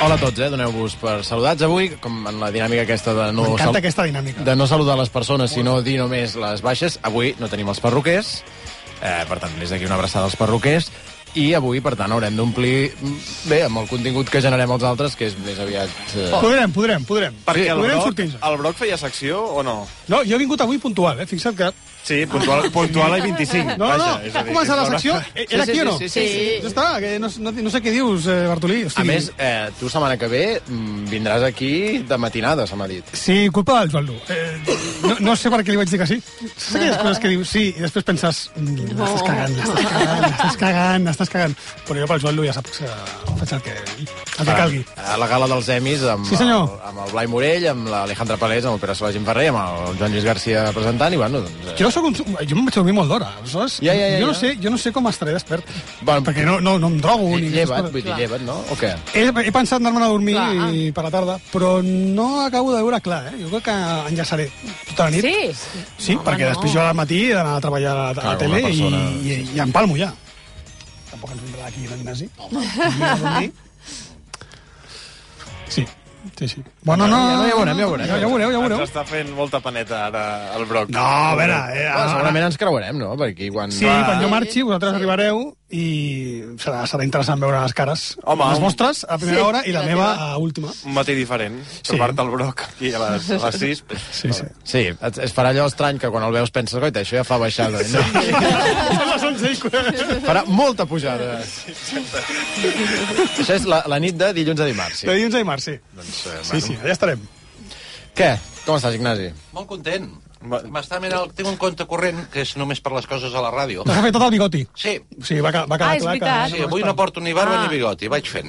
Hola a tots, eh? doneu-vos per saludats avui, com en la dinàmica aquesta de no, M'encanta aquesta dinàmica. de no saludar les persones, sinó dir només les baixes. Avui no tenim els perruquers, eh, per tant, des d'aquí una abraçada als perruquers, i avui, per tant, haurem d'omplir mm, bé amb el contingut que generem els altres, que és més aviat... Eh... Oh. Podrem, podrem, podrem. Perquè Sí, el podrem Broc, sortir-nos. el Broc feia secció o no? No, jo he vingut avui puntual, eh? Fixa't que... Sí, puntual, puntual a 25. No, no, és a ha dir, començat la és secció. hora- Eh, Era Sí, aquí sí, o no? sí, sí, sí. Ja està, que no, no, no sé què dius, eh, Bartolí. A Hosti. més, eh, tu setmana que ve mm, vindràs aquí de matinada, se m'ha dit. Sí, culpa del Joan Lu. Eh, no, no sé per què li vaig dir que sí. Saps aquelles coses que dius sí i després penses... "Mm, L'estàs cagant, l'estàs cagant, l'estàs cagant, l'estàs cagant. Però jo pel Joan Lu ja saps que faig el que, el que calgui. Ah, A la gala dels Emis amb, Sí, senyor. el, amb el Blai Morell, amb l'Alejandra Palés, amb el Pere Solà Gimferrer, amb el Joan Lluís García presentant, i bueno, doncs... Eh, Jo, soc un, jo em vaig dormir molt d'hora, aleshores... Ja, ja, ja, jo, no ja. sé, jo no sé com estaré despert, Bueno, perquè no, no, no em drogo ni... aquestes lleva't, coses. vull dir, Clar. lleva't, no? O què? He, he pensat anar-me'n a dormir Clar. i, per la tarda, però no acabo de veure clar, eh? Jo crec que enllaçaré tota la nit. Sí? Sí, No, perquè home, després jo al matí he d'anar a treballar a, la- a Clar, la tele una persona, i, i, i em palmo ja. Tampoc ens vindrà aquí l'Ignasi. Home, Sí, sí, sí. Bueno, no, Ja, ja veurem, ja veurem, Ja, ja ja veureu, ja veureu. Ens està fent molta paneta ara el Broc. No, a veure... Eh, Ah, a, segurament ens creuarem, no? Per aquí, quan... Sí, Va. quan jo marxi, vosaltres arribareu i serà, serà interessant veure les cares. Home, les home. vostres a primera Sí, hora i la, la meva teva. a última. Un matí diferent. Sí. Trobar-te el Broc aquí a les, a les 6. Sí, sí. Sí, et- es farà allò estrany que quan el veus penses, coita, això ja fa baixada. No? Són les 11 i quaranta. Farà molta pujada. Això és la, la nit de dilluns a dimarts. De Sí. dilluns a dimarts, sí. Doncs, eh, Sí, sí, allà estarem. Què? Com estàs, Ignasi? Molt content. Va- M'està mirant... el- Tinc un compte corrent que és només per les coses a la ràdio. T'has fet tot el bigoti. Sí, Sí, va, ca- va quedar Ah, és clar que... veritat. sí, avui no porto ni barba Ah. Mm, ni bigoti, vaig fent.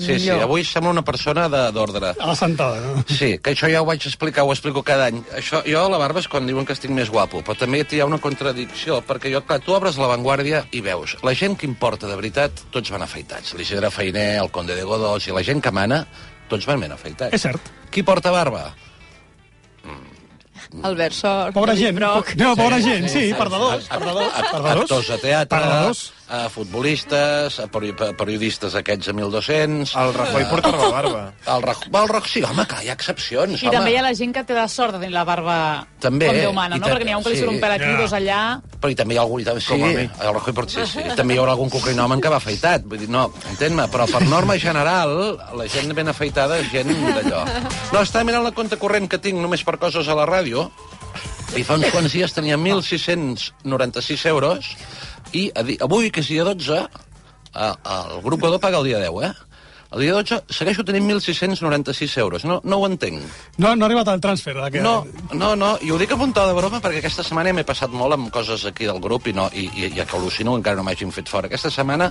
Sí, sí, millor. avui sembla una persona de- d'ordre. A la sentada, no? Sí, que això ja ho vaig explicar, ho explico cada any. Això, jo la barba és quan diuen que estic més guapo, però també hi ha una contradicció, perquè jo, clar, tu obres la Vanguardia i veus, la gent que importa de veritat, tots van afaitats. L'Isidre Feiner, el Conde de Godós i la gent que mana, tots van ben afaitats. És cert. Qui porta barba? Albert Sort, Pobra David gent. Broc. No, pobra gent, sí, perdedors, perdedors, Actors perdedors. de teatre, Perdedors. a futbolistes, a peri pe- periodistes aquests a 1.200... El Rajoy porta la barba. El Rajoy... El Rajoy... Sí, home, que hi ha excepcions, I home. també hi ha la gent que té la sort de tenir la barba També, com Déu mana, i no? tant, Perquè n'hi ha un que li sí. surt un pèl aquí, Ja. dos allà... Però i també hi ha algú... i també- Sí, Com a mi. el Rajoy porta... Sí, sí. També hi haurà algun cocainòmen que va afaitat. Vull dir, no, entén-me, però per norma general, la gent ben afaitada és gent d'allò. No, està mirant la compte corrent que tinc només per coses a la ràdio, i fa uns quants dies tenia 1.696 euros, i a di- avui, que és dia 12, eh, el grup Godó paga el dia 10, eh? El dia 12 segueixo tenint 1.696 euros. No, no ho entenc. No, no ha arribat al transfer. de Que... No, no, no, i ho dic a puntó de broma perquè aquesta setmana m'he passat molt amb coses aquí del grup i, no, i, i, i que al·lucino que encara no m'hagin fet fora. Aquesta setmana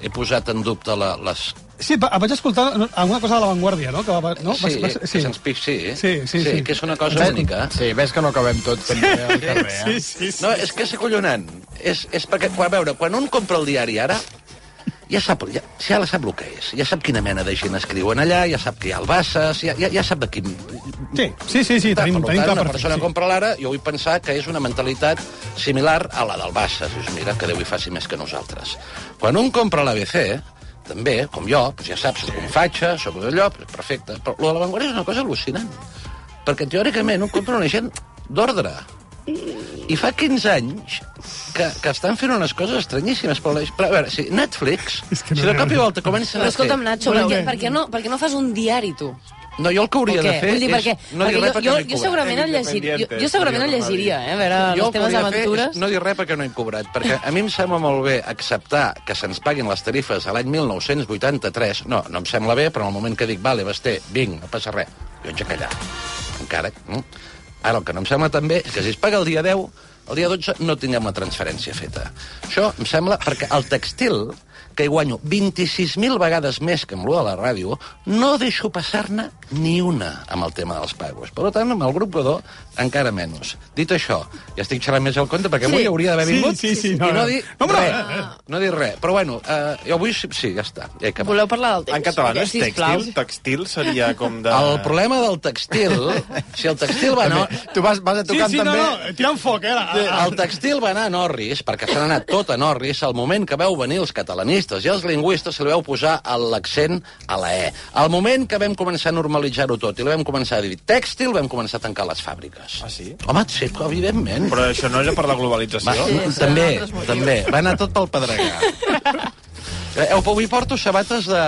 he posat en dubte la, les... Sí, va, vaig escoltar alguna cosa de la Vanguardia, no? Que va, no? Va- sí, va- que se'ns pic, sí, eh? Sí, sí, sí. Que és una cosa Ves- única. Sí, ves que no acabem tot fent bé al carrer, eh? Sí, sí, sí. No, és que és acollonant. És, és perquè, quan, a veure, quan un compra el diari ara, ja sap, ja, ja la sap el que és, ja sap quina mena de gent escriuen allà, ja sap que hi ha el Bassas, ja, ja, ja sap de quin... Sí, sí, sí, sí tenim, per tant, tenim clar una per persona fer, sí. compra l'ara, jo vull pensar que és una mentalitat similar a la del Barça. Dius, mira, que Déu hi faci més que nosaltres. Quan un compra l'ABC, també, com jo, doncs ja saps, sóc un fatxa, sóc d'allò, doncs perfecte. Però lo de la Vanguardia és una cosa al·lucinant. Perquè teòricament un compra una gent d'ordre. I fa 15 anys que, que estan fent unes coses estranyíssimes. Però, la- però a veure, si Netflix, És que no si de n'hi ha cop i res. volta comencen Però a fer... escolta'm, Nacho, Però per què, què? per què, no, per què no fas un diari, tu? No, jo el que hauria O què? de fer Vull dir, és... perquè, No dir perquè res jo, perquè jo, no hi jo cobrat. segurament el llegiria, jo, jo segurament el llegiria, eh, a veure Jo les el que teves hauria de fer aventures. és no dir res perquè no he cobrat, perquè a mi em sembla molt bé acceptar que se'ns paguin les tarifes a l'any 1983. No, no em sembla bé, però en el moment que dic, vale, Basté, vinc, no passa res, jo haig de callar. Encara... mm? No? Ara, el que no em sembla també és que si es paga el dia 10, el dia 12 no tinguem la transferència feta. Això em sembla perquè el textil, que hi guanyo 26.000 vegades més que amb lo de la ràdio, no deixo passar-ne ni una amb el tema dels pagos. Per tant, amb el grup Godó, encara menys. Dit això, ja estic xerrant més al compte, perquè avui Sí. hauria d'haver Sí, vingut sí, sí, no, i no, no. dir No, però- res. No dir res. Però bueno, eh, jo avui sí, sí, ja està. Ja he acabat. Voleu parlar del temps? En català no és Perquè, sisplau. tèxtil? Textil seria com de... El problema del textil, si el textil va... No, Tu vas, vas a Sí, tocant sí, no, també... no, tirant foc, eh? La, El textil va anar a Norris, perquè s'han anat tot a Norris, al moment que veu venir els catalanistes lingüistes, i als lingüistes se li veu posar el- l'accent a la E. Al moment que vam començar a normalitzar-ho tot i li vam començar a dir tèxtil, vam començar a tancar les fàbriques. Ah, sí? Home, sí, evidentment. Però això no era per la Va, globalització? sí, serà també, un altre motiu. també. Va anar tot pel pedregar. Eh, Avui porto sabates de...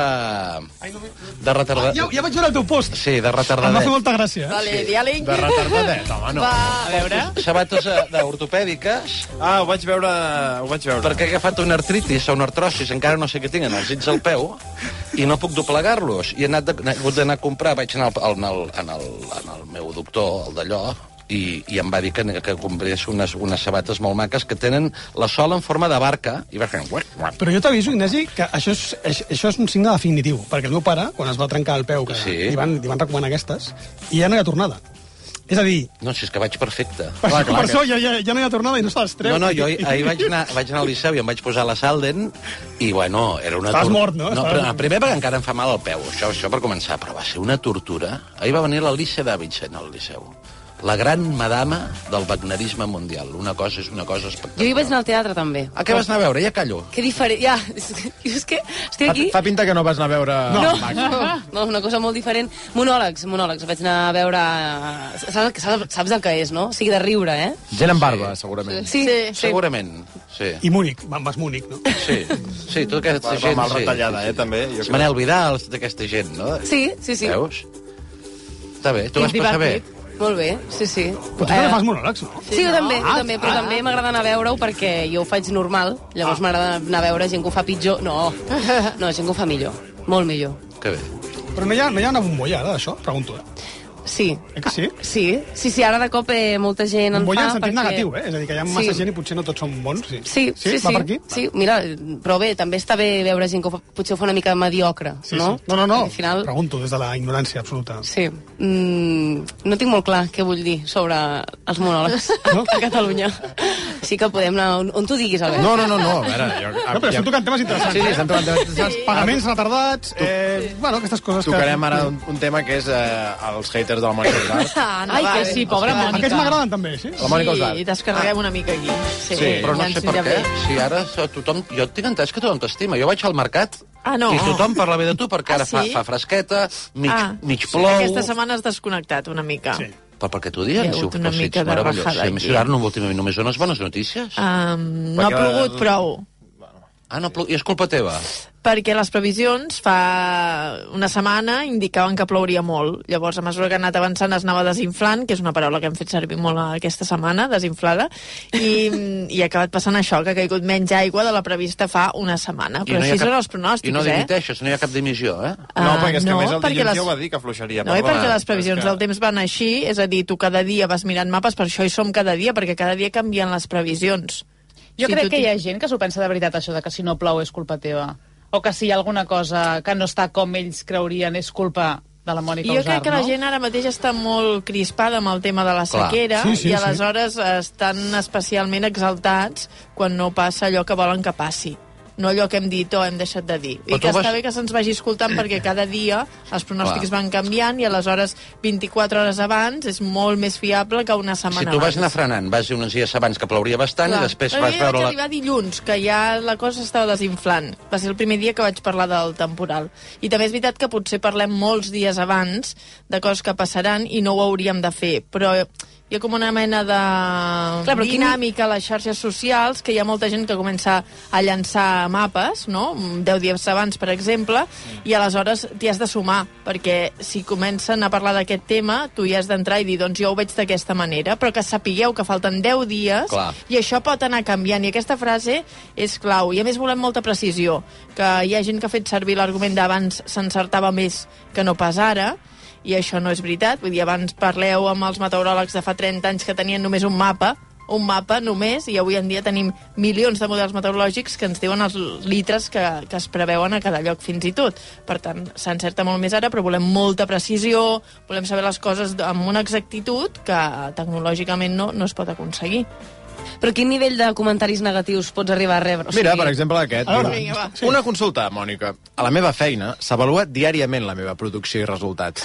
De retarda... Ja, ja vaig veure el teu post. Sí, de Em va fer retardadet. molta gràcia. eh? Vale, diàleg. De retardadet, Ah, home, no. Va, A veure... Sabates eh, d'ortopèdiques Ah, ho vaig veure... Ho vaig veure. perquè he agafat una artritis o una artrosis, encara no sé què tinc, en els dits al peu, i no puc doblegar-los. I he, anat de, he hagut d'anar a comprar, vaig anar al, al, al, en el, en el meu doctor, el d'allò, i, i em va dir que, que comprés unes, unes sabates molt maques que tenen la sola en forma de barca, i va fent... Uac, uac. Però jo t'aviso, Ignasi, que això és, aix- això és un signe definitiu, perquè el meu pare, quan es va trencar el peu, que Sí. sí. li, van, li van recomanar aquestes, i ja no hi ha tornada. És a dir, No, si és que vaig perfecte. per, clar, clar, per això ja, ja, ja no hi ha tornada i no se les treu. No, no, jo ahir- ahir vaig anar, vaig anar al Liceu i em vaig posar la Salden i, bueno, era una... Estàs tor- mort, no? No, Estàs- però, no, primer perquè encara em fa mal el peu, això, això per començar, però va ser una tortura. Ahir va venir l'Alicia Davidson al Liceu, la gran madama del bagnerisme mundial. Una cosa és una cosa Jo hi espectacular. vaig anar al teatre, també. A què vas anar a veure? Ja callo. Que diferent... Ja, és que, és que Fa, estic aquí... fa pinta que no vas anar a veure... No, no, no, una cosa molt diferent. Monòlegs, monòlegs. Vaig anar a veure... eh, Saps, saps, saps el que és, no? O sigui, de riure, eh? Gent amb barba, segurament. Sí, Sí. sí. Segurament, sí. I Múnich, va- vas Múnich, no? Sí, sí, tota aquesta Va, va gent... mal sí, retallada, sí, eh, sí. també, jo És crec. Manel Vidal, d'aquesta gent, no? Sí, sí, sí. Veus? Està bé, tu És vas passar bé. divertit. Molt bé, sí, sí. Eh. Però tu també fas eh? monòlegs, no? Ah, Sí, jo també, jo també, però també m'agrada anar a veure-ho perquè jo ho faig normal, Ah. llavors m'agrada anar a veure gent que ho fa pitjor. No, no, gent que ho fa millor, molt millor. Que bé. Però no hi ha, no hi ha una bombolla, ara, d'això? Pregunto, eh? Sí. Ah, Eh que sí? Sí, sí, sí, ara de cop eh, molta gent en Bombolla fa... en sentit perquè- negatiu, eh? És a dir, que hi ha massa Sí. gent i potser no tots són bons. Sí, Sí, sí, sí. Va per aquí? Sí, mira, però bé, també està bé veure gent que ho fa, potser ho fa una mica mediocre, Sí, no? sí. No, no, no. Al final, Pregunto des de la ignorància absoluta. sí. Mm, no tinc molt clar què vull dir sobre els monòlegs no? a Catalunya. Sí que podem anar on, on tu diguis, Albert. No, no, no, no. A veure, jo, a, No, però estem tocant temes interessants. Sí, sí, estem tocant temes eh? interessants. Pagaments retardats, eh, bueno, aquestes coses que... Tocarem ara un, un tema que és eh, els haters de la Mònica Usar. Ah, no, Ai, va, que bé. sí, pobra Mònica. Aquests m'agraden també, sí? La Mònica Usar. Sí, descarreguem una mica aquí. Sí, Sí. Però no ja sé ens per anirà què. bé. Si ara so- tothom... Jo tinc entès que tothom t'estima. Jo vaig al mercat Ah, no. i tothom parla bé de tu perquè Ah, ara fa, sí? fa fresqueta, mig, Ah, mig sí, plou... Ah. Aquesta setmana has desconnectat una mica. Sí. Però perquè t'ho Hi diguen, ha si ho hagut una si mica ets de meravellós. bajada Si a més, aquí. ara no, últimament només dones bones notícies. Ah, Um, no ha Perquè la- plogut prou, Ah, no, plou- i és culpa teva. perquè les previsions fa una setmana indicaven que plouria molt. Llavors, a mesura que ha anat avançant es anava desinflant, que és una paraula que hem fet servir molt aquesta setmana, desinflada, i, i ha acabat passant això, que ha caigut menys aigua de la prevista fa una setmana. Però hi ha així són els pronòstics, I no eh? dimiteixes, no hi ha cap dimissió, eh? No, perquè és que Ah, a més el perquè dilluns les- ja ho va dir, que afluixaria. No, i perdona. perquè les previsions És que- del temps van així, és a dir, tu cada dia vas mirant mapes, per això hi som cada dia, perquè cada dia canvien les previsions. Jo Si crec tu que ti- hi ha gent que s'ho pensa de veritat, això de que si no plou és culpa teva. O que si hi ha alguna cosa que no està com ells creurien és culpa de la Mònica I jo Usar, crec que la no? gent ara mateix està molt crispada amb el tema de la Clar. sequera Sí, sí, i sí. aleshores estan especialment exaltats quan no passa allò que volen que passi no allò que hem dit o hem deixat de dir. I Però tu que està vas- bé que se'ns vagi escoltant perquè cada dia els pronòstics van canviant i aleshores 24 hores abans és molt més fiable que una setmana Si tu vas abans. anar frenant, vas dir uns dies abans que plouria bastant i després Però vas jo ja veure... vaig La... arribar dilluns, que ja la cosa estava desinflant. Va ser el primer dia que vaig parlar del temporal. I també és veritat que potser parlem molts dies abans de coses que passaran i no ho hauríem de fer, però hi ha com una mena de Clar, però quin- dinàmica a les xarxes socials que hi ha molta gent que comença a llançar mapes, no? 10 dies abans, per exemple, i aleshores t'hi has de sumar, perquè si comencen a parlar d'aquest tema, tu hi has d'entrar i dir, doncs jo ho veig d'aquesta manera, però que sapigueu que falten 10 dies Clar. i això pot anar canviant, i aquesta frase és clau. I a més volem molta precisió, que hi ha gent que ha fet servir l'argument d'abans s'encertava més que no pas ara, i això no és veritat. Vull dir, abans parleu amb els meteoròlegs de fa 30 anys que tenien només un mapa, un mapa només, i avui en dia tenim milions de models meteorològics que ens diuen els litres que, que es preveuen a cada lloc, fins i tot. Per tant, s'encerta molt més ara, però volem molta precisió, volem saber les coses amb una exactitud que tecnològicament no, no es pot aconseguir. Però quin nivell de comentaris negatius pots arribar a rebre? O sigui, Mira, per exemple, aquest. A veure. Vinga. va. Una consulta, Mònica. A la meva feina s'avalua diàriament la meva producció i resultats.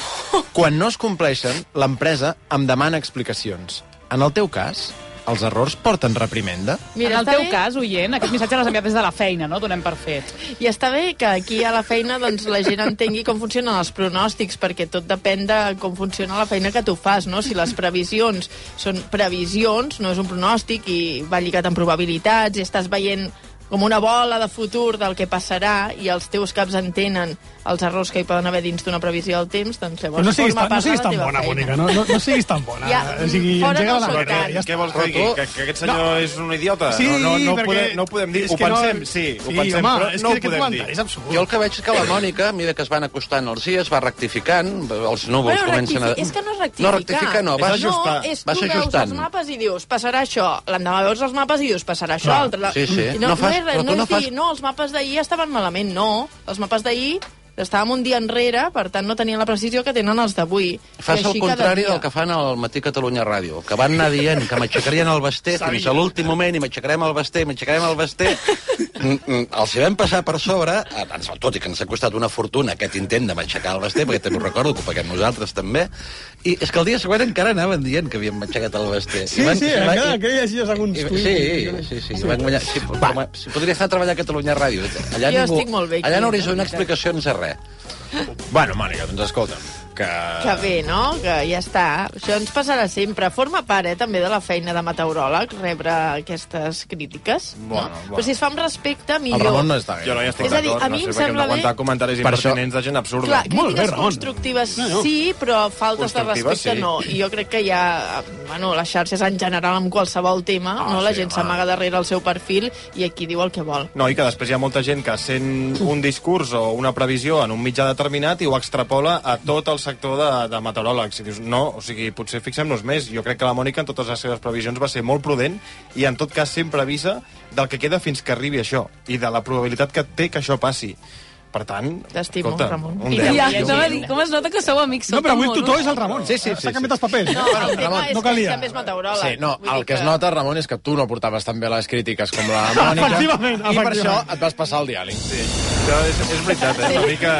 Quan no es compleixen, l'empresa em demana explicacions. En el teu cas, els errors porten reprimenda? Mira, en el està teu bé. cas, oient, aquest missatge l'has enviat des de la feina, no? Donem per fet. I està bé que aquí a la feina doncs, la gent entengui com funcionen els pronòstics, perquè tot depèn de com funciona la feina que tu fas, no? Si les previsions són previsions, no és un pronòstic i va lligat amb probabilitats, i estàs veient com una bola de futur del que passarà i els teus caps entenen els errors que hi poden haver dins d'una previsió del temps, doncs Però llavors no siguis, forma tan, no part de siguis la tan teva bona, feina. bonica, no, no, no siguis tan bona. Ja, o sigui, fora engega del la seu boca, camp. ja Què està. vols que digui? Que, que aquest senyor No. és un idiota? Sí, no, no, no, perquè- podem, no ho podem dir. és Ho que no- pensem, sí, ho pensem, home, però és no que ho aquest podem dir. comentari És absurd. Jo el que veig que la Mònica, mira que es van acostant els dies, va rectificant, els núvols Bueno, comencen a... rectifi- És que no és rectificar. No rectifica, no, És va ajustar. No, és Vas tu veus ajustant. els mapes i dius, passarà això. L'endemà veus els mapes i dius, passarà això. Clar. Altre... Sí, sí. I No, No no, fas- és, però res, tu no, no és dir, fas- no, els mapes d'ahir estaven malament. No, els mapes d'ahir estàvem un dia enrere, per tant no tenien la precisió que tenen els d'avui. Fas I el així cada contrari dia. del que fan al Matí Catalunya Ràdio, que van anar dient que m'aixecarien el basté fins a l'últim moment i m'aixecarem el basté, m'aixecarem el basté. Mm, mm, els hi vam passar per sobre, eh, ens- tot i que ens ha costat una fortuna aquest intent de m'aixecar el basté, perquè també ho recordo que ho paguem nosaltres també, i és que el dia següent encara anaven dient que havíem aixecat el basté. I Sí, van- sí, i van- encara que hi hagi alguns I, tuits. sí, sí, sí, sí, van guanyar. Sí, però com a- si podria estar a treballar a Catalunya Ràdio. Allà Jo ningú, estic molt bé aquí, allà no la hauries de donar veritat. explicacions de res. Bueno, Mònica, doncs escolta'm, que... Que bé, no? Que ja està. Això ens passarà sempre. Forma part, eh, també, de la feina de meteoròleg, rebre aquestes crítiques. Bueno, no? bueno. Però si es fa amb respecte, El millor. Ramon no està bé. Jo no hi estic És a dir, d'acord, a no mi em sé, perquè hem sembla d'aguantar bé- comentaris Per això- impertinents de gent absurda. Clar, Molt bé, crítiques Ramon. constructives No, no. sí, però faltes de Constructives, respecte sí. no. I jo crec que ja, bueno, les xarxes en general amb qualsevol tema, Ah, no la sí, gent home. s'amaga darrere el seu perfil i aquí diu el que vol. No, i que després hi ha molta gent que sent un discurs o una previsió en un mitjà determinat i ho extrapola a tot el sector de, de meteoròlegs. I dius, no, o sigui, potser fixem-nos més. Jo crec que la Mònica en totes les seves previsions va ser molt prudent i en tot cas sempre avisa del que queda fins que arribi això i de la probabilitat que té que això passi. Per tant, T'estimo, escolta, Ramon. un I deu. Ja, sí, no, va dir, com es nota que sou amics? No, sou però tan avui el monos. tutor és el Ramon. Sí, sí, sí, sí. S'ha canviat els papers. No, el tema Ramon, és no que ell calia. també és meteoròleg. Sí, no, Vull el dir que es nota, Ramon, és que tu no portaves tan bé les crítiques com la Mònica. Efectivament, I per efectivament. això et vas passar el diàleg. Sí. Això és, és veritat, eh? una, mica,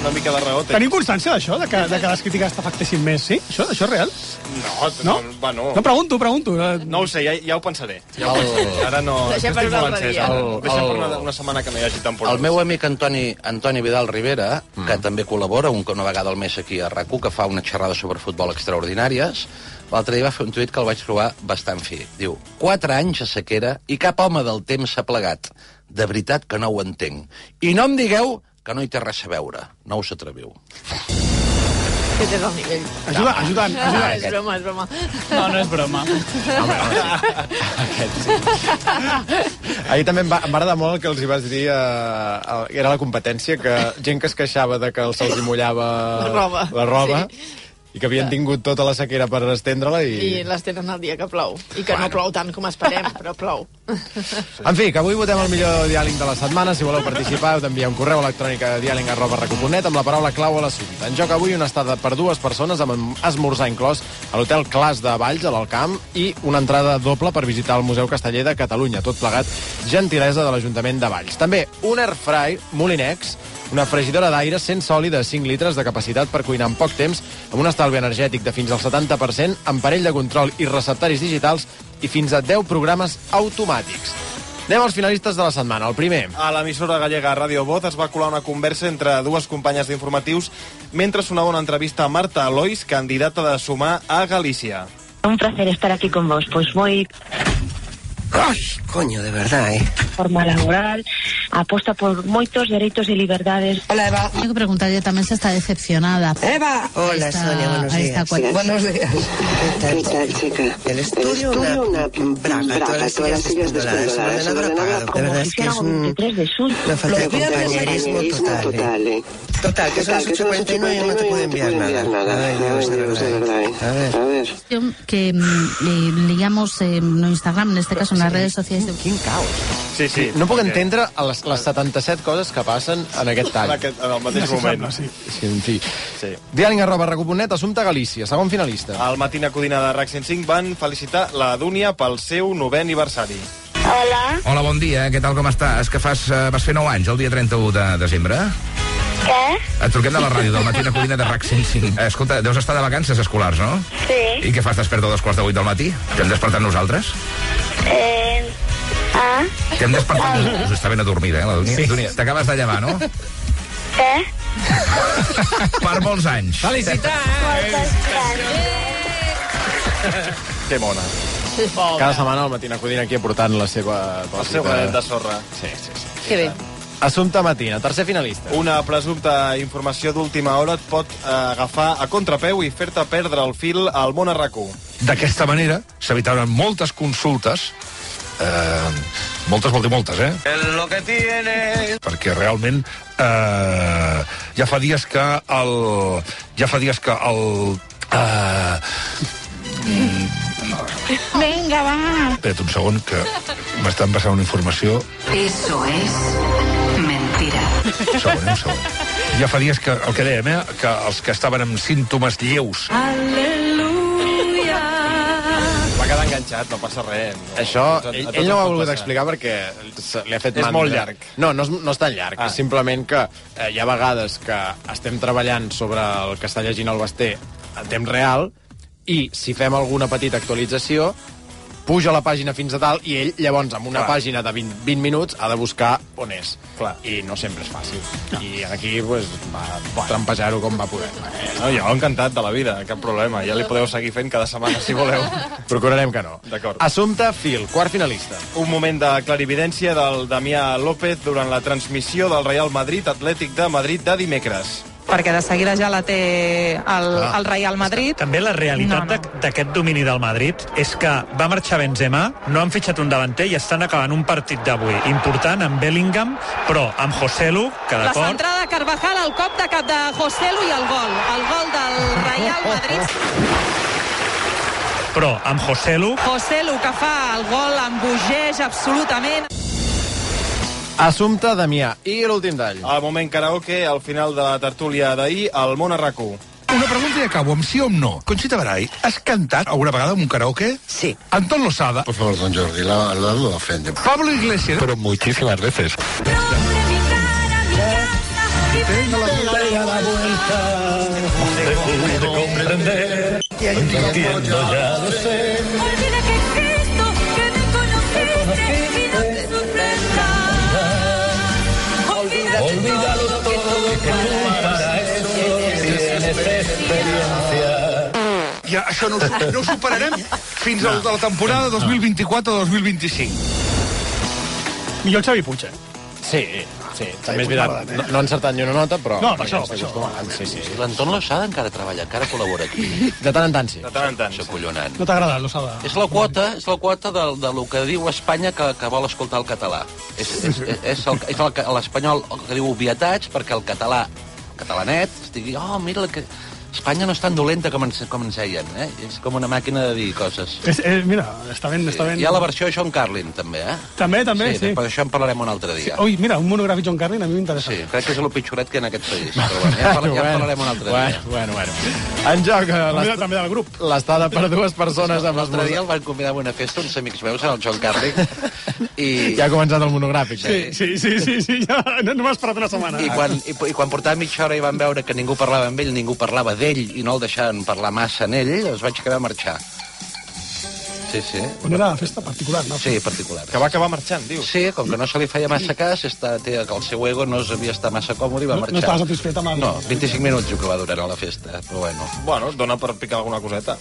una mica de raó. té. Teniu constància d'això, de, que, de que les crítiques t'afectessin més, sí? Això, això és real? No, No? Bueno, No, pregunto, pregunto. Eh, no ho sé, ja, ja ho pensaré. Ja ho El- pensaré. Ara no... Deixem és que estic per un altre molt encès, dia. ara. El- Deixem per el- una, una setmana que no hi hagi temporada. El meu amic Antoni, Antoni Vidal Rivera, mm. que també col·labora un, una vegada al mes aquí a rac que fa una xerrada sobre futbol extraordinàries, l'altre dia va fer un tuit que el vaig trobar bastant fi. Diu, 4 anys a sequera i cap home del temps s'ha plegat. De veritat que no ho entenc. I no em digueu que no hi té res a veure. No us atreviu. Aquest és el nivell. Ajuda, ajuda, ajuda. Ah, és broma, és broma. No, no és broma. Ahir també em va, em va agradar molt el que els hi vas dir, eh, el, era la competència, que gent que es queixava de que se'ls hi mullava La roba. la roba i que havien tingut tota la sequera per estendre-la i... I les tenen el dia que plou. I que no plou tant com esperem, però plou. En fi, que avui votem el millor diàleg de la setmana. Si voleu participar, heu d'enviar un correu electrònic a diàleg arroba recuponet amb la paraula clau a l'assumpte. En joc avui una estada per dues persones amb esmorzar inclòs a l'hotel Clas de Valls, a l'Alcamp, i una entrada doble per visitar el Museu Casteller de Catalunya. Tot plegat, gentilesa de l'Ajuntament de Valls. També un airfry, Molinex, una fregidora d'aire sense oli de 5 litres de capacitat per cuinar en poc temps, amb un estalvi energètic de fins al 70%, amb parell de control i receptaris digitals i fins a 10 programes automàtics. Anem als finalistes de la setmana. El primer, A l'emissora gallega Radio Voz es va colar una conversa entre dues companyes d'informatius mentre sonava una entrevista a Marta Alois, candidata de sumar a Galícia. Un placer estar aquí con vos. Pues voy Ai, coño, de verdad, eh? forma laboral, aposta por moitos dereitos e liberdades. Hola, Eva. Tengo que preguntarle también si está decepcionada. Eva. Hola, está- Sonia, buenos ahí días. está cual- Buenos días. ¿Qué tal, chica? El estudio, una, braga, todas las sillas descolgadas, el ordenador apagado. De Como verdad si es que es hiciéramos un... 23 de suyo. Una falta de compañerismo total, eh. Total, que son las 8.41 y no te puede enviar nada. Ay, Dios, de verdad, eh. A ver. Que mm, eh, leíamos en Instagram, en este caso en las redes sociales. de- Quin caos. Sí, sí. no puc entendre les, les 77 coses que passen en aquest En, tall. aquest, en el mateix moment. Moment. Sí. Sí, en fi. Sí. Diàleg arroba recuponet, Assumpta Galícia, segon finalista. Al matí a Codina de RAC 105 van felicitar la Dúnia pel seu novè aniversari. Hola, bon dia. Què tal, com estàs? Que fas, eh, vas fer 9 anys el dia 31 de desembre? Què? Et truquem de la ràdio, del matí de Codina de RAC 105. Eh, Escolta, deus estar de vacances escolars, no? Sí. I què fas desperta a dos quarts de vuit del matí? T'hem despertat nosaltres? Eh... Ah, T'hem despertat nosaltres? Us està ben adormida, eh, la Dúnia? Sí. Dúnia, t'acabes de llevar, no? què? per molts anys. Moltes gràcies. Que mona. Cada setmana el Matina Codina aquí aportant la seva... El seu granet de sorra. Sí, sí, sí. Que bé. Assumpta Matina, tercer finalista. Una presumpta informació d'última hora et pot eh, agafar a contrapeu i fer-te perdre el fil al món arracú. D'aquesta manera s'evitaran moltes consultes eh, moltes vol dir moltes, eh? Lo que tienes... perquè realment eh, ja fa dies que el ja fa dies que el eh, Vinga, va. espera't un segon que m'estan passant una informació Eso es mentira. un segon, un segon ja fa dies que, el que dèiem, eh, que els que estaven amb símptomes lleus Aleluia. Va quedar enganxat, no passa res. No, Això, A tots ell, ens ell no ho ha pot volgut passar. explicar perquè se- li ha fet És mandra. molt llarg. No, no és, no és tan llarg. Ah. És simplement que eh, hi ha vegades que estem treballant sobre el que està llegint el Basté en temps real i si fem alguna petita actualització puja la pàgina fins a dalt i ell llavors amb una Clar. pàgina de 20, 20 minuts ha de buscar on és. Clar. I no sempre és fàcil. I aquí pues, va bueno. trampejar-ho com va poder. No, jo encantat de la vida, cap problema. Ja li podeu seguir fent cada setmana, si voleu. Procurarem que no. D'acord. Assumpte Fil, quart finalista. Un moment de clarividència del Damià López durant la transmissió del Real Madrid Atlètic de Madrid de dimecres. perquè de seguida ja la té el, Clar. el Real Madrid. També la realitat no, no. d'aquest domini del Madrid és que va marxar Benzema, no han fitxat un davanter i estan acabant un partit d'avui important amb Bellingham, però amb Joselu, que La d'acord... centrada de Carvajal, el cop de cap de Joselu i el gol. El gol del Real Madrid. Però amb Joselu... Joselu que fa el gol, embogeix absolutament. Assumpte Damià. I l'últim tall. Al moment karaoke, al final de la tertúlia d'ahir, al món arracú. una pregunta i acabo, amb sí o amb no Conxita Barai, has cantat alguna vegada en un karaoke? Sí Anton Losada Por favor, don Jordi, la, la lo ofende. Pablo Iglesias Pero muchísimas veces. Olvídalo todo que tú para eso tienes experiencia. ja, això no, ho- no ho superarem fins no. a la temporada 2024-2025 Millor el Xavi Puig, eh? Sí, sí. També és eh? veritat, eh? no, no han encertat ni una nota, però... No, per això, perquè ens per això. acostumem. Sí, sí. L'Anton Losada encara treballa, encara col·labora aquí. De tant en tant, sí. De tant en tant. Això collonant. No t'ha agradat, l'Osada? És la quota, és la quota de, de lo que diu Espanya que, que vol escoltar el català. És, és, és el- és el que- l'espanyol que diu obvietats perquè el català, el catalanet, es digui, oh, mira, que Espanya no és tan dolenta com ens, com ens deien, eh? És com una màquina de dir coses. És, eh, mira, està ben, està ben... Hi ha la versió John Carlin, també, eh? També, també, sí. Per això en parlarem un altre dia. Ui, mira, un monogràfic John Carlin a mi m'interessa. Sí, crec que és el pitjoret que hi ha en aquest país. Però bueno, ja, en parla, ja en parlarem un altre bueno, dia. Bueno, bueno, En joc, eh, l'est- també del grup. l'estada per dues persones amb L'altre dia esmorzar. el van convidar a una festa, uns amics meus, en el Joan Carrick, i, Ja ha començat el monogràfic. eh? Sí, sí, sí, sí, sí ja, no, no m'ha esperat una setmana. i, quan, i, i quan portava mitja hora i van veure que ningú parlava amb ell, ningú parlava d'ell, i no el deixaven parlar massa en ell, es vaig quedar a marxar. Sí, sí. Quan era la festa particular, no? Sí, particular. Que va acabar marxant, diu. Sí, com que no se li feia massa cas, està, té, que el seu ego no sabia estar massa còmode i va No, marxar. no estava satisfet amb el... No, 25 minuts jo que va durar la festa, però bueno. Bueno, dona per picar alguna coseta.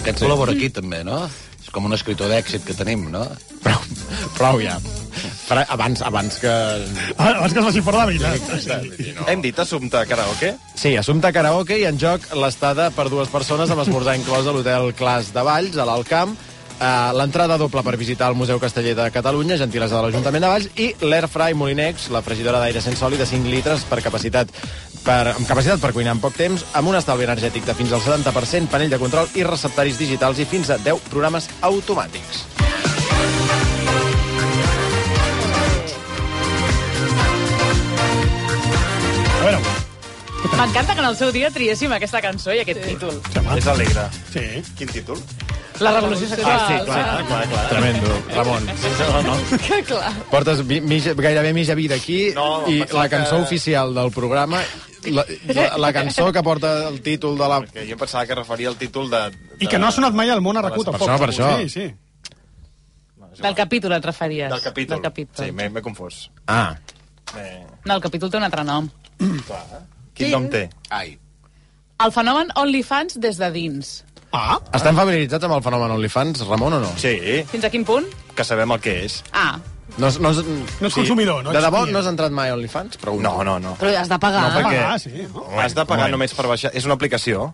Aquest col·labora aquí, també, no? És com un escritor d'èxit que tenim, no? Prou ja. Però abans, abans que... Ah, abans que es faci fora de vida. No. Hem dit assumpte karaoke? Sí, assumpte karaoke i en joc l'estada per dues persones amb esmorzar inclòs a l'hotel Clas de Valls, a l'Alt Camp, eh, l'entrada doble per visitar el Museu Casteller de Catalunya, gentilesa de l'Ajuntament de Valls, i l'Airfry Molinex, la fregidora d'aire sense oli de 5 litres per capacitat per, amb capacitat per cuinar en poc temps, amb un estalvi energètic de fins al 70%, panell de control i receptaris digitals i fins a 10 programes automàtics. A veure, M'encanta que en el seu dia triéssim aquesta cançó i aquest sí. títol. És alegre. Sí. Quin títol? La revolució sexual. Ah, sí, clar, clar, clar, clar. Tremendo, Ramon. No, no. Que clar. Portes mi, mi, gairebé mitja vida aquí No, no, i pensava la cançó que- que... oficial del programa... La, la, la cançó que porta el títol de la... Perquè jo em pensava que referia el títol de... de... I que no ha sonat mai al món a RAC1, Per tampoc. això, per això. Sí, sí. Del capítol et referies. Del capítol. Del capítol. Sí, m'he m'he confós. Ah. Eh, No, el capítol té un altre nom. clar. Quin nom té? Ai. El fenomen OnlyFans des de dins. Ah. Estan familiaritzats amb el fenomen OnlyFans, Ramon, o no? Sí, Fins a quin punt? que sabem el que és. Ah, No, és- no, és, No és consumidor, no De debò, existia. no has entrat mai a OnlyFans? Pregunto. No, no, no. Però has de pagar. No, perquè- Ah, sí. no? Has de pagar només per baixar. És una aplicació.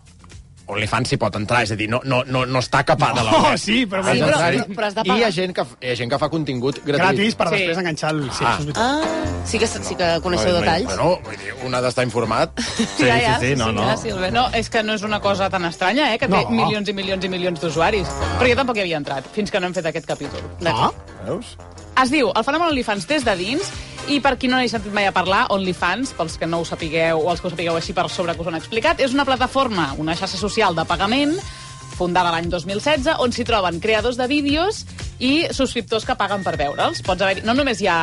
OnlyFans s'hi pot entrar, és a dir, no, no, no, no està capada la Oh, web. sí, però... Has Sí, però- d'entrar-hi. però- però has de I hi ha pagar. gent que, f- hi ha gent que fa contingut gratuït. Gratis per Sí. després enganxar el... Sí, Ah. això és veritat. Ah, sí que, sí que No, coneixeu no, detalls. Bueno, vull dir, un ha d'estar informat. Sí, sí, sí, no, no. Sí, Albert. no, és que no és una cosa tan estranya, eh, que té No. milions i milions i milions d'usuaris. Però jo tampoc hi havia entrat, fins que no hem fet aquest capítol. Ah, Veus? Es diu El fenomen OnlyFans des de dins, i per qui no n'he sentit mai a parlar, OnlyFans, pels que no ho sapigueu o els que ho sapigueu així per sobre que us ho han explicat, és una plataforma, una xarxa social de pagament fundada l'any 2016, on s'hi troben creadors de vídeos i subscriptors que paguen per veure'ls. Pots haver no només hi ha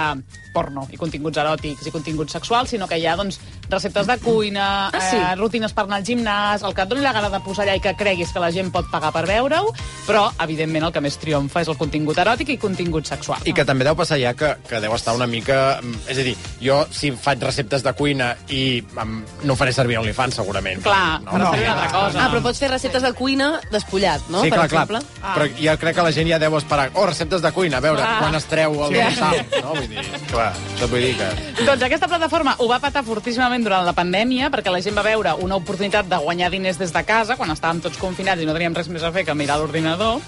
porno i continguts eròtics i continguts sexuals, sinó que hi ha doncs, receptes de cuina, ah, sí? eh, rutines per anar al gimnàs, el que et doni la gana de posar allà i que creguis que la gent pot pagar per veure-ho, però, evidentment, el que més triomfa és el contingut eròtic i contingut sexual. I que també deu passar ja que, que deu estar una mica... mm, És a dir, jo si faig receptes de cuina i um, no faré servir OnlyFans, segurament. Clar, no, per fer una altra cosa. Ah, però pots fer receptes de cuina despullat, no? sí, per clar, clar. exemple. Ah. Però jo crec que la gent ja deu esperar. Oh, receptes de cuina, a veure, Ah. ah. quan es treu el Sí. sí. sal, no? Vull dir, clar, això et vull dir que... Doncs aquesta plataforma ho va patar fortíssimament durant la pandèmia perquè la gent va veure una oportunitat de guanyar diners des de casa quan estàvem tots confinats i no teníem res més a fer que mirar l'ordinador.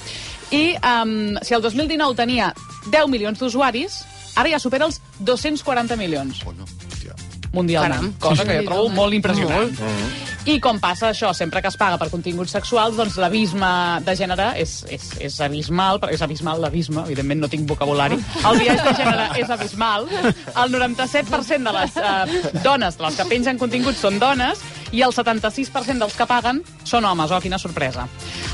I um, si el 2019 tenia 10 milions d'usuaris, ara ja supera els 240 milions. Bueno, hòstia. mundialment, Caram. cosa que jo trobo molt impressionant. Molt. I com passa això, sempre que es paga per continguts sexuals, doncs l'abisme de gènere és, és, és abismal, però és abismal l'abisme, evidentment no tinc vocabulari. El biaix de gènere és abismal. El 97% de les eh, dones, les que pengen continguts, són dones, i el 76% dels que paguen són homes. Oh, quina sorpresa.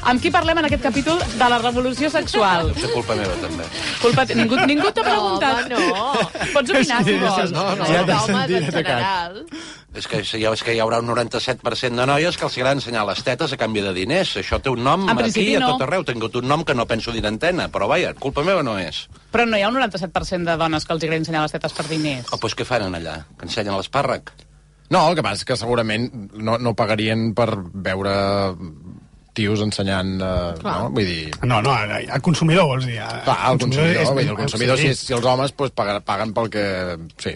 Amb qui parlem en aquest capítol de la revolució sexual? És culpa meva, també. Culpa... Ningú, ningú t'ha preguntat. No, home, Oh. Pots opinar, si vols. no, no, no, ja t'he home, sentit, en ja t'he cagat. general. És que, si- és que hi haurà un 97% de noies que els agrada ensenyar les tetes a canvi de diners. Això té un nom En aquí principi, i a no. tot arreu. He tingut un nom que no penso dir d'antena, però vaja, culpa meva no és. Però no hi ha un 97% de dones que els agrada ensenyar les tetes per diners. Oh, doncs què fan allà? Que ensenyen l'espàrrec? No, el que passa és que segurament no, no pagarien per veure tios ensenyant... Eh, no? Vull dir... No, no, el consumidor, vols dir. Clar, el consumidor, és- vull dir, el consumidor sí. si, si els homes pues, paguen, paguen pel que... Sí.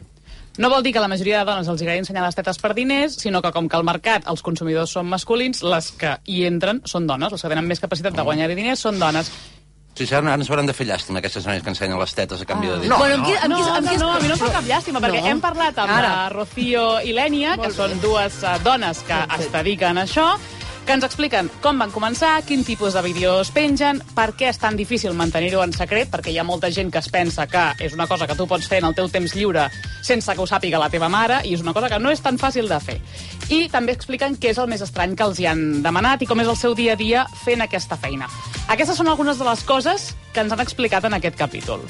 No vol dir que la majoria de dones els agradi ensenyar les tetes per diners, sinó que com que al mercat els consumidors són masculins, les que hi entren són dones, les que tenen més capacitat de guanyar diners són dones. Sí, sí, ara ens hauran de fer llàstima, aquestes noies que ensenyen les tetes a canvi de No, diners. bueno, amb qui, amb No, qui, amb no, qui es- no, a mi no em fa cap llàstima, perquè No. hem parlat amb Ara. la Rocío i l'Ènia, que són dues eh, dones que es dediquen a això, que ens expliquen com van començar, quin tipus de vídeos pengen, per què és tan difícil mantenir-ho en secret, perquè hi ha molta gent que es pensa que és una cosa que tu pots fer en el teu temps lliure sense que ho sàpiga la teva mare, i és una cosa que no és tan fàcil de fer. I també expliquen què és el més estrany que els hi han demanat i com és el seu dia a dia fent aquesta feina. Aquestes són algunes de les coses que ens han explicat en aquest capítol.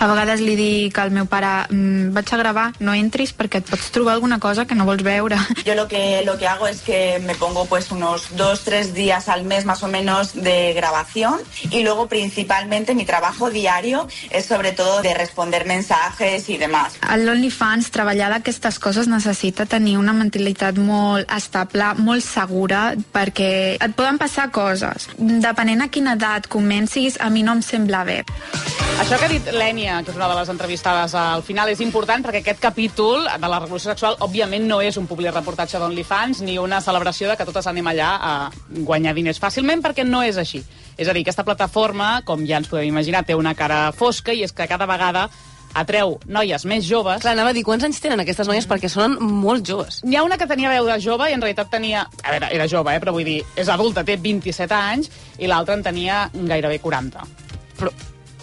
A vegades li dic al meu pare, "Mm, vaig a gravar, no entris perquè et pots trobar alguna cosa que no vols veure. Yo lo que, lo que hago es que me pongo pues unos dos, tres días al mes más o menos de grabación y luego principalmente mi trabajo diario es sobre todo de responder mensajes y demás. A l'OnlyFans, treballar d'aquestes coses necessita tenir una mentalitat molt estable, molt segura, perquè et poden passar coses. Depenent a quina edat comencis, a mi no em sembla bé. Això que ha dit l'Ènia, que és una de les entrevistades al final, és important perquè aquest capítol de la revolució sexual, òbviament, no és un public reportatge d'OnlyFans ni una celebració de que totes anem allà a guanyar diners fàcilment, perquè no és així. És a dir, aquesta plataforma, com ja ens podem imaginar, té una cara fosca i és que cada vegada atreu noies més joves Clar, anava a dir, quants anys tenen aquestes noies? Perquè sonen molt joves. N'hi ha una que tenia veu de jove i en realitat tenia... A veure, era jove, eh? però vull dir, és adulta, té 27 anys, i l'altra en tenia gairebé 40. Però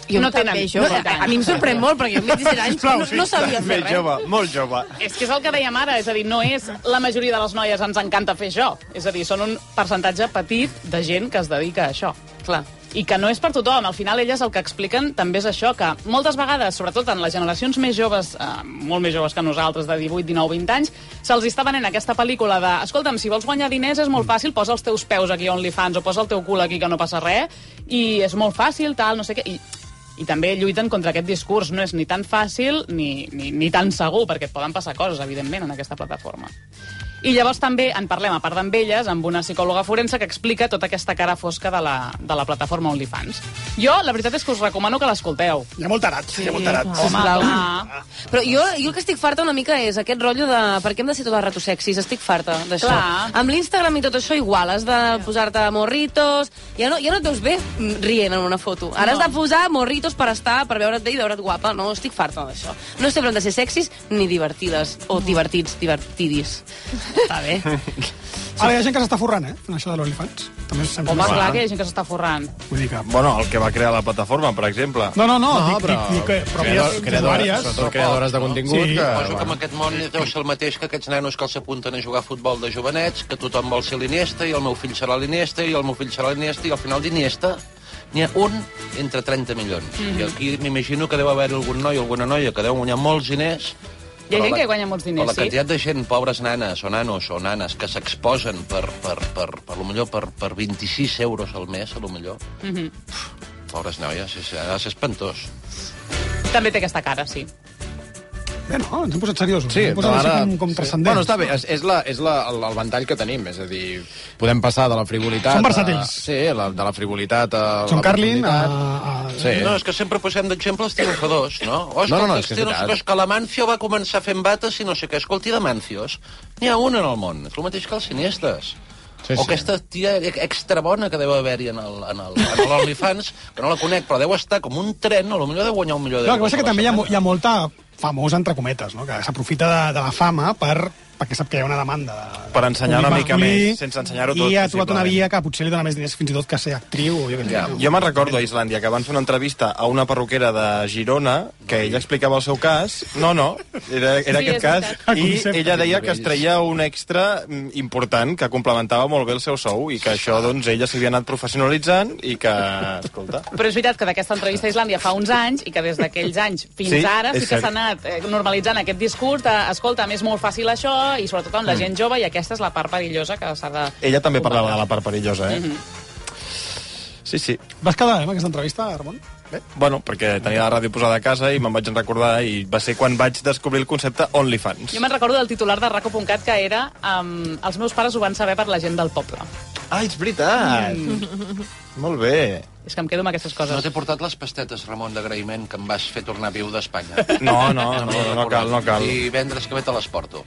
Jo també, jove. no, A mi em sorprèn molt, perquè amb 27 anys Sisplau, no, no sabia fer Més res. jove, molt jove. És que és el que dèiem ara, és a dir, no és la majoria de les noies ens encanta fer això. És a dir, són un percentatge petit de gent que es dedica a això. Clar. i que no és per tothom. Al final elles el que expliquen també és això, que moltes vegades, sobretot en les generacions més joves, eh, molt més joves que nosaltres, de 18, 19, 20 anys, se'ls està venent aquesta pel·lícula de escolta'm, si vols guanyar diners és molt fàcil, posa els teus peus aquí a OnlyFans o posa el teu cul aquí que no passa res i és molt fàcil, tal, no sé què... I, i també lluiten contra aquest discurs. No és ni tan fàcil ni, ni, ni tan segur, perquè et poden passar coses, evidentment, en aquesta plataforma. I llavors també en parlem, a part amb elles, amb una psicòloga forense que explica tota aquesta cara fosca de la, de la plataforma OnlyFans. Jo, la veritat és que us recomano que l'escolteu. Hi ha molt tarat, sí, hi ha molt tarat. Home, clar. Però jo, jo el que estic farta una mica és aquest rotllo de per què hem de ser totes ratosexis, estic farta d'això. Clar. Amb l'Instagram i tot això igual, has de posar-te morritos, ja no, ja no et veus bé mm, rient en una foto. Ara No. has de posar morritos per estar, per veure't bé i veure't guapa, no, estic farta d'això. No sempre hem de ser sexis ni divertides, o divertits, divertidis. Està bé. Ara hi ha gent que s'està forrant, eh? En això de l'OnlyFans. També és sempre... Home, més- clar, que hi ha gent que s'està forrant. Vull dir que... Bueno, el que va crear la plataforma, per exemple. No, no, no, No, dic- però- dic- dic que- però Creador- que- creadores, usuàries. sobretot creadores de contingut. Sí. que, Suposo que en aquest món deu ser el mateix que aquests nanos que els apunten a jugar a futbol de jovenets, que tothom vol ser l'Iniesta, i el meu fill serà l'Iniesta, i el meu fill serà l'Iniesta, i al final d'Iniesta n'hi ha un entre 30 milions. Mhm. I aquí m'imagino que deu haver algun noi o alguna noia que deu guanyar molts diners, Hi ha Però gent la- que guanya molts però diners, la sí. quantitat de gent, pobres nanes o nanos o nanes, que s'exposen per, per, per, per, lo millor per, per 26 euros al mes, a lo millor, Mhm. pobres noies, és, ha de ser espantós. També té aquesta cara, sí. Bé, no, ens hem posat seriosos. Sí, ens hem posat però així ara- com, com sí. transcendents. Bueno, està bé, és, és, la, és la, el, el ventall que tenim, és a dir, podem passar de la frivolitat... Són versàtils. A, sí, la, de la frivolitat a... John la Carlin, a, profunditat. a, Sí. No, és que sempre posem d'exemple els triomfadors, no? O No, escolta, no, no, és és que que, és no sé veritat. què, és que la Mancio va començar fent bates i no sé què. Escolti, de Mancios, n'hi ha un en el món. És el mateix que els cineastes. Sí, Sí, sí. o aquesta tia e- extra bona que deu haver-hi en el- en el- en l'OnlyFans, que no la conec, però deu estar com un tren, a lo millor deu guanyar un milió No, el que d'euros. passa és que a la també hi ha, mo- setmana. hi ha molta famosa, entre cometes, no? que s'aprofita de, de la fama per, perquè sap que hi ha una demanda. De, Per ensenyar una publicar, mica publicar, més, sense ensenyar-ho tot, I ha trobat una possiblement. via que potser li dona més diners fins i tot que ser actriu o jo què sé. Ja, jo me'n recordo a Islàndia que van fer una entrevista a una perruquera de Girona que ella explicava el seu cas. No, no, era, era Sí, aquest és cas. veritat. El I concepte. ella deia que es treia un extra mm, important que complementava molt bé el seu sou i que això, doncs, ella s'havia anat professionalitzant i que, escolta... Però és veritat que d'aquesta entrevista a Islàndia fa uns anys i que des d'aquells anys fins Sí, ara sí és que cert. s'ha anat eh, normalitzant aquest discurs de, escolta, és molt fàcil això i sobretot amb la Mm. gent jove i aquesta és la part perillosa que s'ha de... Ella també parlava de la part perillosa, eh? Mm-hmm. Mhm. Sí, sí. Vas quedar eh, amb aquesta entrevista, Ramon? Bueno, perquè tenia la ràdio posada a casa i me'n vaig recordar i va ser quan vaig descobrir el concepte OnlyFans. Jo me'n recordo del titular de raco.cat que era um, els meus pares ho van saber per la gent del poble. Mm. Ah, és veritat! Molt bé. És que em quedo amb aquestes coses. No t'he portat les pastetes, Ramon, d'agraïment, que em vas fer tornar viu d'Espanya. No, no, no, no, no cal, no cal. I vendres que ve te les porto.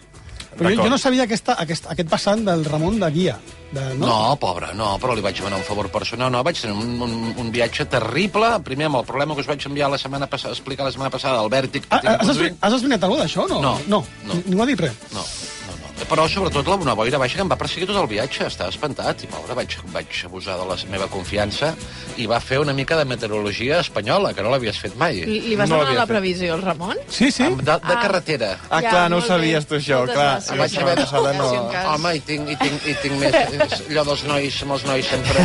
Però jo, jo no sabia aquesta, aquest, aquest passant del Ramon de guia. De, No? no, pobre, no, però li vaig demanar un favor personal. No, vaig tenir un, un, un viatge terrible. Primer, amb el problema que us vaig enviar la setmana passada, explicar la setmana passada, el vèrtic que Ah, ah, tinc Has, conduint. esbri- has esbrinat alguna cosa d'això? No. No, no. no. Ni- Ningú ha dit res. No, no, no. Però sobretot la bona boira baixa que em va perseguir tot el viatge. Estava espantat i, pobre, vaig, vaig abusar de la meva confiança i va fer una mica de meteorologia espanyola, que no l'havies fet mai. Li, li vas no donar l'havia la fet. previsió al Ramon? Sí, sí. De, de Ah. carretera. Ah, Ja, clar, no ho molt bé. sabies tu, això, Moltes clar. gràcies. Vaig haver de... Si en No. cas. Home, i tinc, i tinc, i tinc més... és Allò dels nois, amb els nois sempre...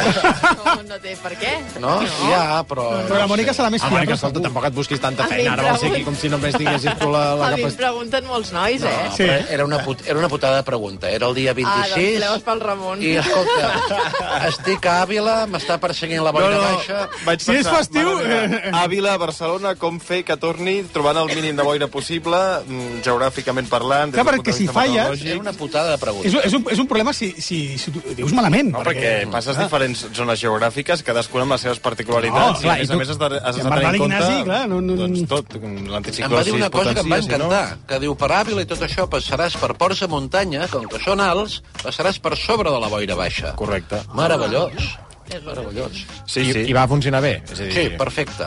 No, no té per què. No? no. Ja, però... Però la Mònica serà més Ah, Mònica, fiable, escolta, tampoc et busquis tanta A mi feina. em Ara vas pregun- aquí com si només tinguessis tu la, la A mi em capacitat. pregunten molts nois, No, eh? sí. era, una put, era una putada de pregunta. Era el dia Ah, doncs 26 leves pel Ramon. i, escolta, estic a Àvila, m'està perseguint la boira No, no, baixa... Vaig pensar, mare meva, eh, Àvila, Barcelona, com fer que torni trobant el mínim de boira possible, mm, geogràficament parlant... des Clar, del perquè punt de si vista falles- meteorològic. Era una putada de pregunta. És, un- és, un, és un problema si, si, si tu dius malament. No, perquè passes diferents zones geogràfiques, cadascuna amb les seves particularitats, No, no, Oh, clar, i a més i tu- a més has de, has i de tenir en en Bernat compte Ignasi, clar, no- no- doncs tot, Em va dir l'anticicló una cosa que em va encantar, No? que diu, per Àvila i tot això passaràs per ports de muntanya, com que són alts, passaràs per sobre de la boira baixa. Correcte. Meravellós. Meravellós. Sí, I, sí. I va funcionar bé. És a dir, eh, Sí, perfecte.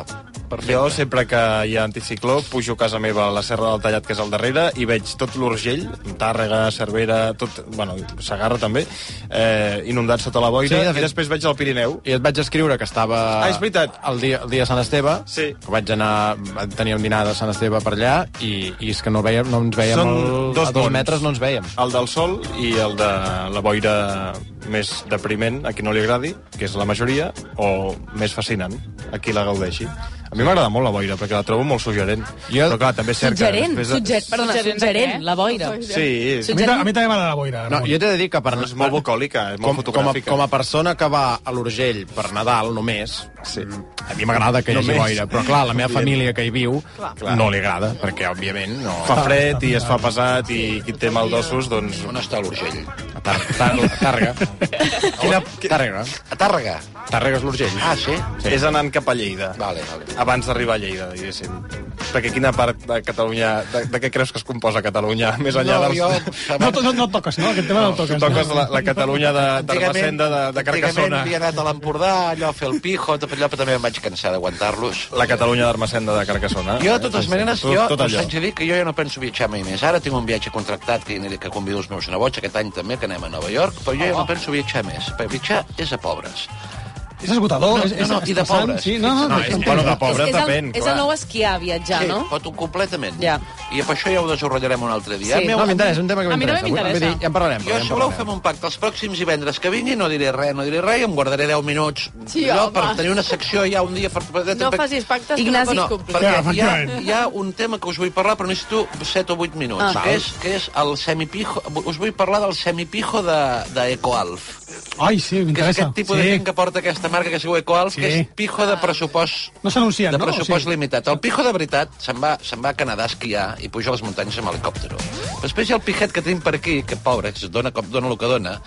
Perfecte. Jo, sempre que hi ha anticicló, pujo a casa meva a la Serra del Tallat, que és al darrere, i veig tot l'Urgell, Tàrrega, Cervera, tot, bueno, Sagarra també, eh, inundat sota la boira, Sí, sí, de de fet- i després veig el Pirineu. I et vaig escriure que estava... Ah, és veritat. El dia, el dia de Sant Esteve, Sí. que vaig anar, tenia un dinar de Sant Esteve per allà, i, i és que no, veiem, no ens veiem... Són el, dos a dos mons. metres no ens veiem. El del sol i el de la boira més depriment, a qui no li agradi, que és la majoria, o més fascinant, a qui la gaudeixi. A mi m'agrada molt la boira, perquè la trobo molt suggerent. Jo... Però clar, també és cert Suggerent, que... després sugger, perdona, Suggerent de suggerent, què? la boira. Sí. A mi ta- a mi també m'agrada la boira. No, jo t'he de dir que per... És molt bucòlica, és molt Com, com, a, fotogràfica. com a persona que va a l'Urgell per Nadal només, sí. a mi m'agrada que hi hagi Només. boira, però clar, la meva família que hi viu Clar. no li agrada, perquè òbviament no... Fa fred i es fa pesat i qui té mal d'ossos, doncs... On està l'Urgell? A Tàr- Tàr- a Tàrrega. Quina... Tàrrega. A Tàrrega? Tàrrega és l'Urgell. Ah, sí? Sí. És anant cap a Lleida. Vale, vale. Abans d'arribar a Lleida, diguéssim. Perquè quina part de Catalunya... De, de què creus que es composa Catalunya? Més enllà dels... No, to- no, no el toques, no? Aquest tema no, el toques. Toques la, la Catalunya de Tarbacenda, de, de Carcassona. Antigament havia anat a l'Empordà, allò a fer el pijo, tot allò, però també em vaig cansar d'aguantar-los. La Catalunya d'Armacenda de Carcassona. Jo, de totes maneres, Ah, Tot- jo tot us allò. haig de dir que jo ja no penso viatjar mai més. Ara tinc un viatge contractat que, aniré, que convido els meus nebots, aquest any també, que anem a Nova York, però jo ja Oh. no penso viatjar més. Per viatjar és a pobres. És esgotador, No, és, no, és no, i de estressant, pobres. Sí, no, no, No, no, és- no, bueno, de És, pobres és, el, és el nou esquiar, viatjar, Sí, no? pot completament. Ja. I per això ja ho desenvoluparem un altre dia. Sí. Meu, No, m'interessa, és un tema que A mi també m'interessa. Vull- m'interessa. vull dir, Ja en parlarem. Jo, ja en si voleu, parlarem. fem un pacte. Els pròxims divendres que vingui no diré res, no diré res, i em guardaré 10 minuts Sí, allò, home. per tenir una secció ja un dia... Per... No facis pactes que Ignasi- no No, pots complir. perquè hi Ja, ha, efectivament. hi ha un tema que us vull parlar, però necessito 7 o 8 minuts, Ah. que, és, que és el semipijo... Us vull parlar del semipijo de, de EcoAlf, Ai, sí, que és m'interessa. aquest tipus de gent que porta aquesta marca que es diu EcoAlf, Sí. que és pijo de pressupost No s'anuncien, de no? pressupost Sí. limitat. El pijo de veritat se'n va, se'n va a Canadà a esquiar i puja a les muntanyes amb helicòptero. Després hi ha el pijet que tenim per aquí, que pobre, que es dona cop dona el que dona,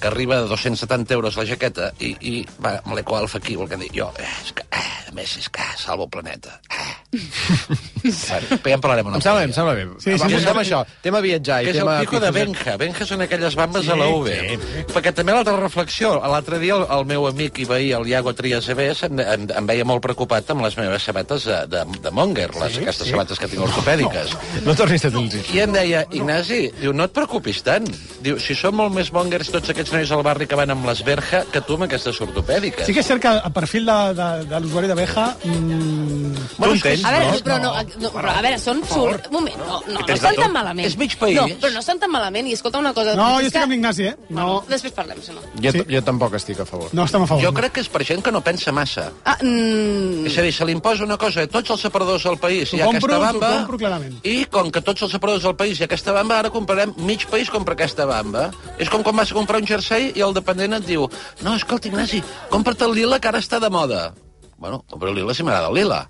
que arriba a 270 euros la jaqueta i, i va amb l'ecoalfa aquí, vol que dir, jo, eh, és que, eh, a més, és que salvo el planeta. Eh. bueno, però ja en parlarem una Em sembla bé, em sembla bé. Sí, sí, Va, sí. posem això. Tema viatjar que i és el tema... pico de pijos Benja. Benja són aquelles bambes sí, a la UV. sí, Sí. Perquè també l'altra reflexió, l'altre dia el, el, meu amic i veí, el Iago Trias Ebés, em, em, em veia molt preocupat amb les meves sabates de, de, de Monger, les, sí, aquestes sí. sabates que tinc ortopèdiques. No tornis a tenir I em deia, Ignasi, diu, no et preocupis tant. Diu, si són molt més mongers tots aquests nois al barri que van amb les verja que tu amb aquestes ortopèdiques. Sí que és cert que el perfil de, de, de l'usuari d'abeja... Mmm, Bueno, és que- A veure, però no, no, però a veure, són... Sur... Un moment, no, no, no tens estan de tot. tan malament. És mig país. No, però no estan tan malament, i escolta una cosa... no, és jo estic que- amb l'Ignasi, eh? No, Bueno, després parlem, si no. Jo, Sí. jo tampoc estic a favor. no estem a favor. Jo crec que és per gent que no pensa massa. Ah, mm, És a dir, se li imposa una cosa, a tots els separadors del país T'ho hi ha compro, aquesta t'ho bamba, compro clarament. i com que tots els separadors del país hi ha aquesta bamba, ara comprarem mig país compra aquesta bamba. És com quan vas a comprar un jersei i el dependent et diu no, escolta, Ignasi, compra't el lila que ara està de moda. Bueno, compro el lila si m'agrada el lila.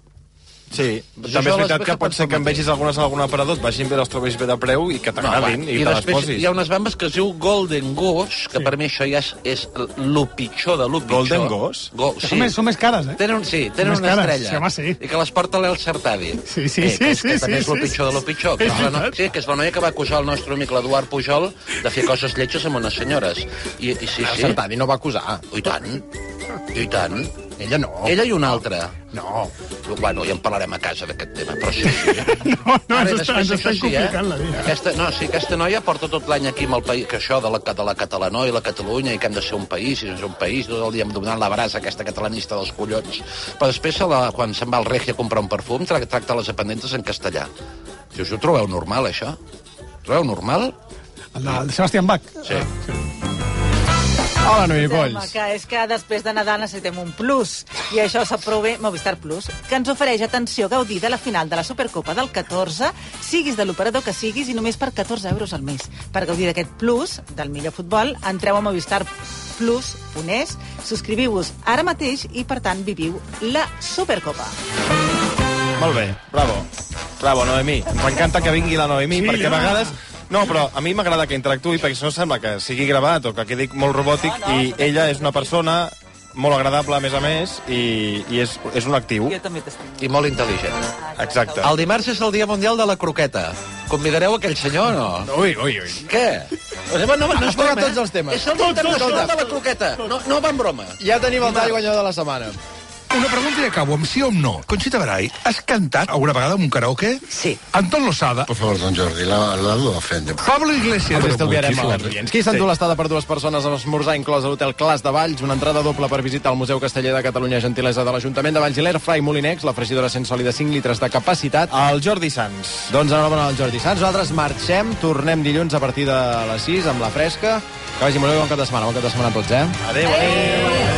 Sí, també Doncs això és les veritat veig que que pot ser que en penso vegis algunes a algun aparador, et vagin bé, les trobis bé de preu i que t'agradin va. i, te les després posis. hi ha unes bambes que es diu Golden Goose, que sí. per mi això ja és, és lo pitjor de lo pitjor. Golden Goose? Go, Sí. sí. Són, més, són més cares, eh? Tenen, sí, tenen Més una cares, estrella. sí, home, sí. I que les porta l'El Certadi. Sí, sí, eh, sí, que és, sí, que també sí, és el sí. pitjor de lo pitjor. Que És és, la no... veritat. sí, que és la noia que va acusar el nostre amic l'Eduard Pujol de fer coses lletges amb unes senyores. I, i sí, sí. Santani no va acusar. I tant. I tant. Ella no. Ella i una altra. No. Bueno, ja en parlarem a casa d'aquest tema, però sí, sí. No, no, Ara, ens, després, està, ens això estan sí, complicant la vida. Aquesta, no, sí, aquesta noia porta tot l'any aquí amb el país, que això de la, de la catalanó i la Catalunya, i que hem de ser un país, i no ser un país, tot el dia em donant la brasa aquesta catalanista dels collons. Però després, se la, quan se'n va al regi a comprar un perfum, tra tracta les dependentes en castellà. Dius, ho trobeu normal, això? Ho trobeu normal? El de el Sebastián Bach. Sí. Hola, Noemi Sembla Polls. que és que després de Nadal necessitem un plus, i això s'aprova Movistar Plus, que ens ofereix atenció a gaudir de la final de la Supercopa del 14, siguis de l'operador que siguis, i només per 14 euros al mes. Per gaudir d'aquest plus, del millor futbol, entreu a Movistar Plus, punès, subscriviu-vos ara mateix i, per tant, viviu la Supercopa. Molt bé, bravo. Bravo, Noemí. Ens encanta que vingui la Noemí, Sí, sí, perquè a home. vegades... No, però a mi m'agrada que interactuï, perquè si no sembla que sigui gravat o que quedi molt robòtic, no, no, i ella és una persona molt agradable, a més a més, i, i és, és un actiu. Jo també t'estic. I molt intel·ligent. Exacte. El dimarts és el Dia Mundial de la Croqueta. Convidareu aquell senyor o no? Ui, ui, ui. Què? No, no, no és Toca broma, eh? tots els temes. És el Dia Internacional de la Croqueta. No, no va en broma. Ja tenim el tall guanyador de la setmana. Una pregunta i acabo, amb sí o amb no. Conxita Barai, has cantat alguna vegada en un karaoke? Sí. Anton Lozada. Por favor, don Jordi, la, la lo ofende. Pablo Iglesias. Els estalviarem a les oients. Qui s'endú l'estada per dues persones a esmorzar inclòs a l'hotel Clas de Valls, una entrada doble per visitar el Museu Casteller de Catalunya Gentilesa de l'Ajuntament de Valls i l'Air Fry Molinex, la fregidora sense oli de 5 litres de capacitat. El Jordi Sans. Doncs enhorabona al Jordi Sans. Nosaltres marxem, tornem dilluns a partir de les 6 amb la fresca. Que vagi molt bé, bon cap de setmana. Bon cap de setmana a tots, eh? Adéu, adéu. adéu.